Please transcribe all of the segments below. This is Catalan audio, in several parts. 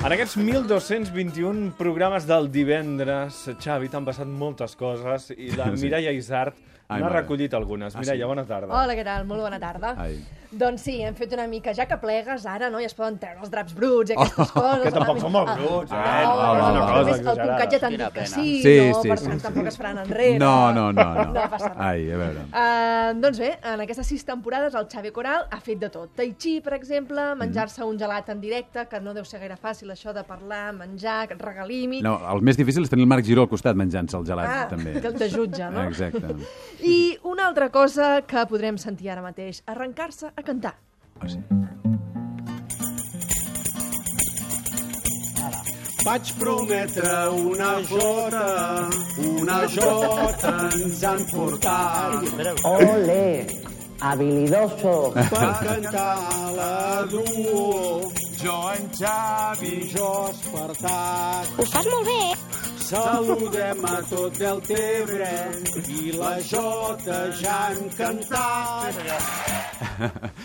En aquests 1221 programes del divendres, Xavi, t'han passat moltes coses i la Sí. Mireia Isart Ai, n'ha mare. recollit algunes. Ah, Mireia, sí? bona tarda. Hola, què tal? Molt bona tarda. Ai. Doncs sí, hem fet una mica, ja que plegues ara, no? Ja es poden treure els draps bruts i Oh, aquestes coses. que tampoc són molt Ah, bruts, eh? ah, No, home, no és una cosa només El exagerada. Concat ja t'han Quina dit que pena. sí, Sí, no? sí, per sí, tant, sí, tampoc sí. es faran enrere. No, no, no, no. No passa res. Ai, a veure. Uh, doncs bé, en aquestes sis temporades el Xavi Coral ha fet de tot. Tai chi, per exemple, Mm. menjar-se un gelat en directe, que no deu ser gaire fàcil això de parlar, menjar, regalimi... No, el més difícil és tenir el Marc Giró al costat menjant-se el gelat, Ah, també. que el de jutge, no? Exacte. I una altra cosa que podrem sentir ara mateix, arrencar-se a cantar. Ah, sí. Vaig prometre una jota, una jota ens han portat Ole, habilidoso. per cantar la duo. Jo en Xavi, jo espartat. Ho fas molt bé. Saludem a tot el Tebre i la jota ja han cantat.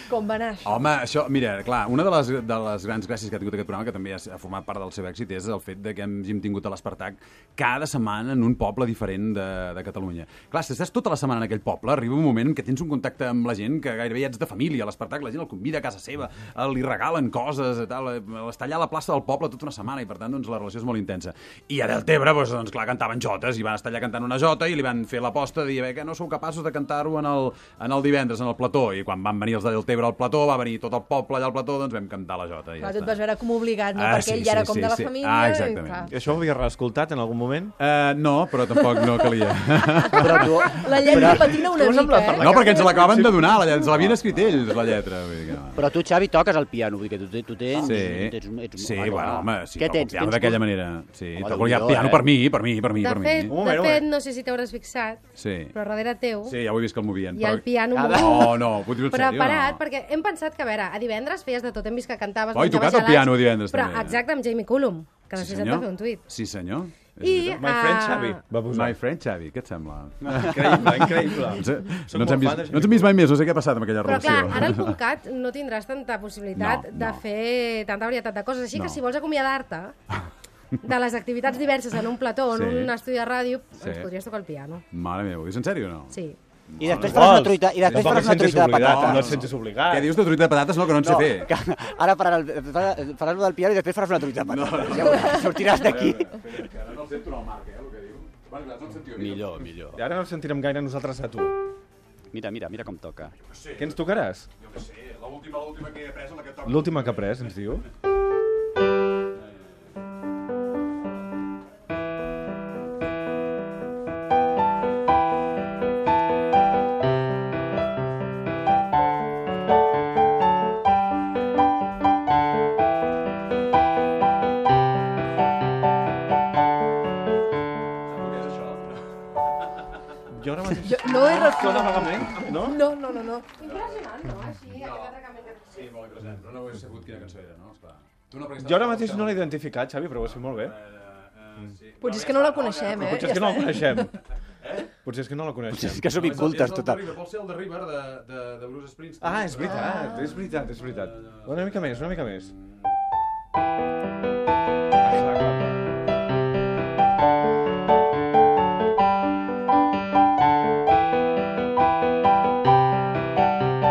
Com va anar això? Home, això, mira, clar, una de les, de les grans gràcies que ha tingut aquest programa, que també ha s- ha format part del seu èxit, és el fet de que hem, hem tingut a l'Espartac cada setmana en un poble diferent de, de Catalunya. Clar, si estàs tota la setmana en aquell poble, arriba un moment en què tens un contacte amb la gent que gairebé ja ets de família. A l'Espartac la gent el convida a casa seva, eh, li regalen coses, i tal, eh, està allà a la plaça del poble tota una setmana i, per tant, doncs, la relació és molt intensa. I a Deltebre, doncs, doncs, clar, cantaven jotes i van estar allà cantant una jota i li van fer l'aposta de dir "A veure, que no sou capaços de cantar-ho en, el, en el divendres, en el plató. I quan van venir els de Deltebre al plató, va venir tot el poble allà al plató, doncs vam cantar la jota. I Clar, ja tu et està. vas veure com obligat, no? Ah, Perquè sí, ell ja era sí, com sí, de la sí. família. Ah, i, exactament. clar, I això ho havies reescoltat en algun moment? Eh, no, però tampoc no calia. Però tu... La lletra patina Tu una has mica, semblat eh? parlar- No, perquè ens l'acaben de donar, la, ens l'havien escrit ells, la lletra. Vull dir que no. Però tu, Xavi, toques el piano, vull dir que tu, tu tens... Sí, tens, ets, sí bueno, home, sí, Què toco el tens? piano Tens d'aquella cul- manera. Sí, Home, toco el Déu-n'hi-do, piano eh? per mi, per mi, per mi, De per fet, mi. Un moment, de un fet, moment. no sé si t'hauràs fixat, Sí. però darrere teu Sí, ja ho he vist que el movien. Oh, hi ha Oh. el piano Ah, molt No, no, ho dius en sèrio? preparat, no. perquè hem pensat que, a veure, a divendres feies de tot, hem vist que cantaves... Oh, he menjaves tocat el gelats, piano divendres, Però, també. eh? exacte, amb Jamie Cullum, que després et va fer un tuit. Sí, senyor. És I, veritat. My friend ah, Xavi va posar. My friend, Xavi, què et sembla? No, Increïble, increïble. ens, Soc no ens, molt hem fan de vist, no ens hem vist mai més, no sé què ha passat amb aquella Però clar, relació. ara al Concat no tindràs tanta possibilitat No, de no. fer tanta varietat de coses, així No. que si vols acomiadar-te de les activitats diverses en un plató o en Sí. un estudi de ràdio, Sí. ens podries tocar el piano. Mare meva, ho dius en sèrio o no? Sí. I després faràs una truita, i després Tampoc faràs et una sentis truita de obligat, patates. No et sentis obligat. Què dius de truita de patates? No, que no en sé fer. que ara faràs, el, faràs, faràs lo del piano i després faràs una truita de patates. Ja veuràs, sortiràs d'aquí. Ara no el sento en el Marc, eh, el que diu. Bueno, no el sentiu. Millor, millor. I Ara no ens sentirem gaire nosaltres a tu. Mira, mira, mira com toca. Què ens tocaràs? Jo què sé, l'última, l'última que he pres, la que toca. L'última que ha pres, ens diu. Mm. Jo ara mateix... Jo no he Sona recordat. vagament, no? No, no, no, no. Impressionant, no? Així, aquest atracament que Sí, molt interessant, però no he sabut quina cançó era, no? Esclar. Tu no, Jo ara mateix no l'he identificat, Xavi, però ho has fet molt bé. Potser és que no la coneixem, eh? Potser és que no la coneixem. Potser és que no la coneixem. És que som incultes, total. Vol ser el de River, de, de, de Bruce Springsteen. Ah, és veritat, és veritat, és veritat. Una mica més, una mica més. Ah, clar, clar, clar.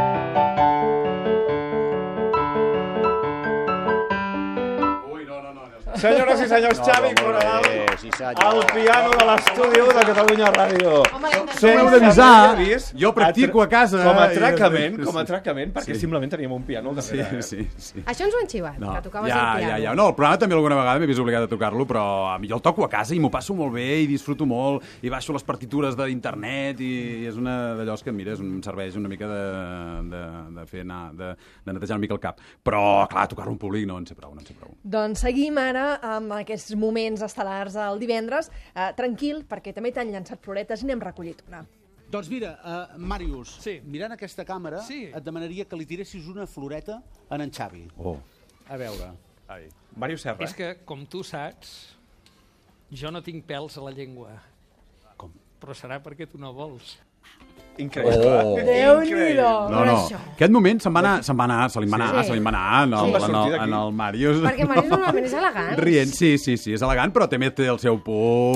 Ah. Ui, no, no, no. Senyores i senyors, Xavi Coral, Eh, sí, al senyor. piano de l'estudi 1 de Catalunya Ràdio. Home, Som Sense heu d'avisar, haver vist jo practico atra- a casa. eh, Com a i- atracament, com a Sí. atracament, perquè Sí. simplement teníem un piano al Sí, darrere. eh? sí, sí. Això ens ho han xivat, que tocaves ja, el piano. ja, ja. No, el programa també alguna vegada m'he vist obligat a tocar-lo, però a mi jo el toco a casa i m'ho passo molt bé i disfruto molt i baixo les partitures d'internet i, i és una d'allòs que, mira, és un, em serveix una mica de, de, de fer anar, de, de netejar una mica el cap. Però, clar, tocar-lo en públic no en sé prou, no en sé prou. Doncs seguim ara amb aquests moments estel·lars del divendres. Eh, tranquil, perquè també t'han llançat floretes i n'hem recollit una. Doncs mira, uh, Màrius, Sí. mirant aquesta càmera, Sí. et demanaria que li tiressis una floreta en en Xavi. Oh. A veure. Mario Serra. És que, com tu saps, jo no tinc pèls a la llengua. Com? Però serà perquè tu no vols. Increïble. Oh. Déu-n'hi-do. No, no. Aquest moment se'n va anar, se'n va anar, se li va anar, Sí. se li va anar en Sí. el, Va en sortir el, d'aquí. en el Màrius. Perquè Marius normalment és elegant. Rient, sí, sí, sí, és elegant, però també té el seu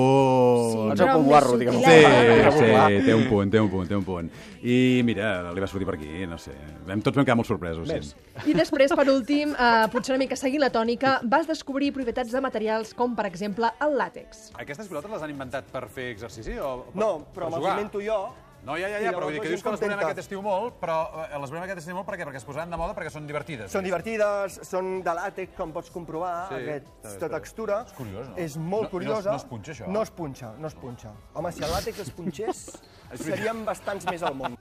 punt. El seu però punt més guarro, diguem-ho. Sí, sutil, sí, popular. té un punt, té un punt, té un punt. I mira, li va sortir per aquí, no sé. Vam, tots vam quedar molt sorpresos. Sí. I després, per últim, eh, potser una mica seguint la tònica, vas descobrir propietats de materials com, per exemple, el làtex. Aquestes pilotes les han inventat per fer exercici? O No, però me'ls invento jo. No, ja, ja, I ja, llavors però vull dir la que dius que gent les veurem contenta. aquest estiu molt, però eh, les veurem aquest estiu molt perquè perquè es posaran de moda perquè són divertides. Són divertides, són de làtex, com pots comprovar, Sí, també, aquesta també. textura. És curiós, no? És No- i no molt es- curiosa. no es punxa, això? No es punxa, no es punxa. Home, si el làtex es punxés, seríem bastants més al món.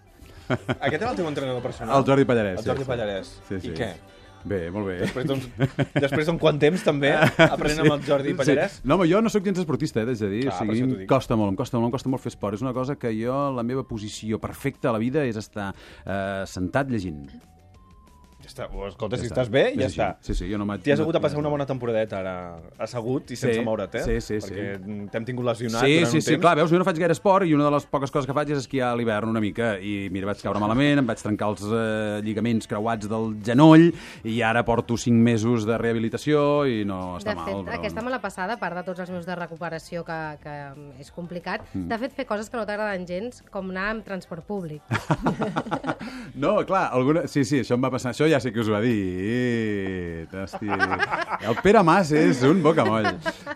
Aquest era el teu entrenador personal? El Jordi Pallarès. El Jordi sí, Pallarès. Sí, sí. I què? Bé, molt bé. Després d'un- Després d'un quant temps també aprenent amb el Jordi Pallarès? Ah, Sí. No, home, jo no sóc gens esportista, eh, t'haig de dir. Clar, o per sigui, això em t'ho dic. costa molt, em costa molt, em costa molt fer esport. És una cosa que jo, la meva posició perfecta a la vida és estar eh, sentat llegint. Ja està. Oh, Escolta, si estàs bé, ja És així. està. Sí, sí, jo no m'haig... T'hi has hagut no- de passar una bona temporadeta ara, assegut i sense Sí, moure't, eh? sí, sí, sí. Perquè mm, t'hem tingut lesionat Sí, durant sí, un sí, temps. clar, veus, jo no faig gaire esport i una de les poques coses que faig és esquiar a l'hivern una mica i mira, vaig caure malament, em vaig trencar els eh, lligaments creuats del genoll i ara porto 5 mesos de rehabilitació i no està de fet, mal. Però... aquesta me l'ha passada, a part de tots els meus de recuperació, que, que mm, és complicat. De fet, fer coses que no t'agraden gens, com anar amb transport públic. No, clar, alguna... sí, sí, això em va passar, això ja sé que us ho ha dit. Hòstia. El Pere Mas és un bocamoll.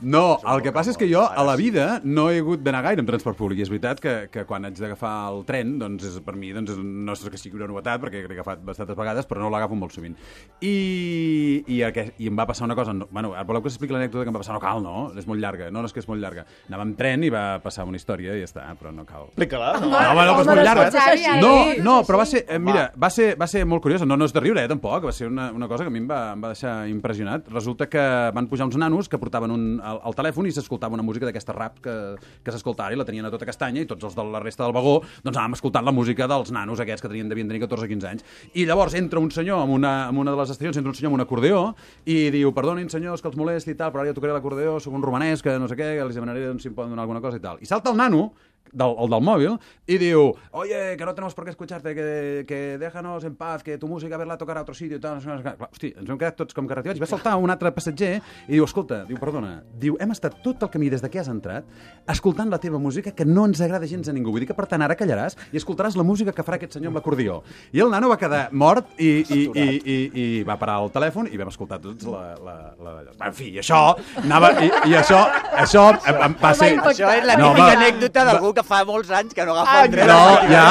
No, el que passa és que jo a la vida no he hagut d'anar gaire amb transport públic. I és veritat que, que quan haig d'agafar el tren, doncs és, per mi doncs, no és que sigui una novetat, perquè l'he agafat bastantes vegades, però no l'agafo molt sovint. I, i, aquest, I em va passar una cosa... No, bueno, voleu que us expliqui l'anècdota que em va passar? No cal, no? És molt llarga. No, no, és que és molt llarga. Anava amb tren i va passar una història i ja està, però no cal. Explica-la, no? No, Ah, home, no, però és molt llarg. Xavi, ara No, sí. no, però va ser... Eh, mira, va ser, va ser molt curiosa. No, no és de riure, eh, tampoc. Va ser una, una cosa que a mi em va, em va deixar impressionat. Resulta que van pujar uns nanos que portaven un, el, el telèfon i s'escoltava una música d'aquesta rap que, que s'escolta ara i la tenien a tota castanya i tots els de la resta del vagó doncs anàvem escoltant la música dels nanos aquests que tenien, devien tenir 14-15 anys. I llavors entra un senyor en una, en una de les estacions, entra un senyor amb un acordeó i diu, perdonin senyors que els molesti i tal, però ara jo tocaré l'acordeó, sóc un romanès que no sé què, que els demanaré doncs, si em poden donar alguna cosa i tal. I salta el nano del, el del mòbil, y digo, oye, que no tenemos por qué escucharte, que, que déjanos en paz, que tu música verla tocar a otro sitio i tal. No sé, no sé, què. Clar, hosti, ens hem quedat tots com que retivats. I va saltar un altre passatger i diu, escolta, diu, perdona, diu, hem estat tot el camí des de que has entrat escoltant la teva música que no ens agrada gens a ningú. Vull dir que, per tant, ara callaràs i escoltaràs la música que farà aquest senyor amb l'acordió. I el nano va quedar mort i, i, i, i, i va parar el telèfon i vam escoltar tots la... la, la... En fi, i això anava... I, i això, això em, em va ser... Això és la No, típica home. anècdota d'algú que fa molts anys que no agafa el tren. No, ja...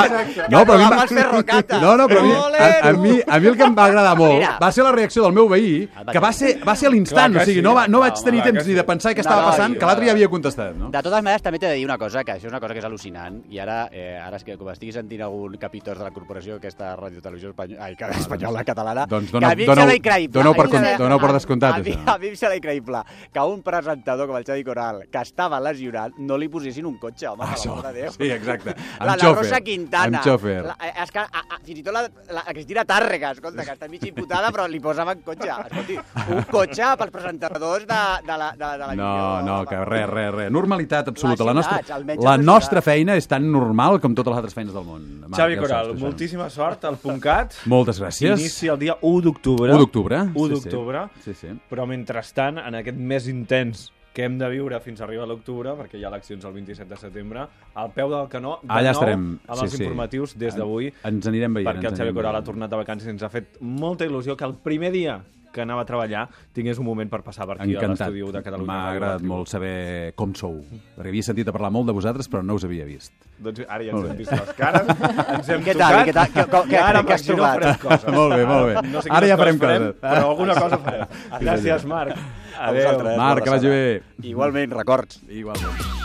No, però a mi... em va- Agafes ferrocata. No, no, però a mi, a, a, Bolero. mi, a mi el que em va agradar molt Mira. va ser la reacció del meu veí, que va ser, va ser a l'instant, Clar que o sigui, sí. no, va, no vaig Home, tenir clar que temps ni de sí. pensar què No, estava no, passant, i- que l'altre ja havia contestat, no? De totes maneres, també t'he de dir una cosa, que això és una cosa que és al·lucinant, i ara, eh, ara és que com estigui sentint algun capítol de la corporació, aquesta ràdio televisió espanyola, ai, cara, espanyola, catalana, Doncs que dona- a mi em dona-ho- sembla increïble. dona-ho A mi per em con- sembla- dona-ho per a- descomptat, a mi- això. A mi em sembla increïble que un presentador com el Xavi Coral, que estava lesionat, no li posessin un cotxe, home, per l'amor de Déu. sí, exacte. Ah, Amb La, la xòfer, Rosa Quintana. Amb xòfer. La, eh, és que, a, a, fins i tot la, la, la Cristina Tàrrega, escolta, que està mig imputada, però li posaven cotxe. Escolti, un cotxe pels presentadors de, de la, de, la- de la No, no, que res, res, res. Normalitat absoluta. Les La nostra, ciutats, almenys la les nostra ciutats. feina és tan normal com totes les altres feines del món. Marc, Xavi ja ho Coral, saps, això. moltíssima sort al puntcat. Moltes gràcies. Inici el dia 1 d'octubre. 1 d'octubre. 1 Sí, sí. d'octubre. Sí, sí. Però mentrestant, en aquest mes intens que hem de viure fins a arribar a l'octubre, perquè hi ha eleccions el 27 de setembre, al peu del canó, de Allà nou, estarem. amb els Sí, sí. informatius des d'avui, Ens anirem veient. perquè el ens Xavi anirem Coral ha veient. tornat de vacances i ens ha fet molta il·lusió que el primer dia que anava a treballar tingués un moment per passar per aquí a Encantat. l'estudi u de Catalunya. M'ha Ràdio agradat Ràdio. molt saber com sou, perquè havia sentit a parlar molt de vosaltres, però no us havia vist. Doncs ara ja ens Molt bé. hem vist les cares, ens hem Què tal, tocat, què tal, què- com- i què- ara què per has aquí no trobat? farem coses. Molt bé, molt bé. Doncs, No sé Ara quines ja farem farem, coses. Però alguna cosa farem. Gràcies, Marc. vosaltres. Adéu. Res, Marc, que vagi bé. Igualment, records. Igualment.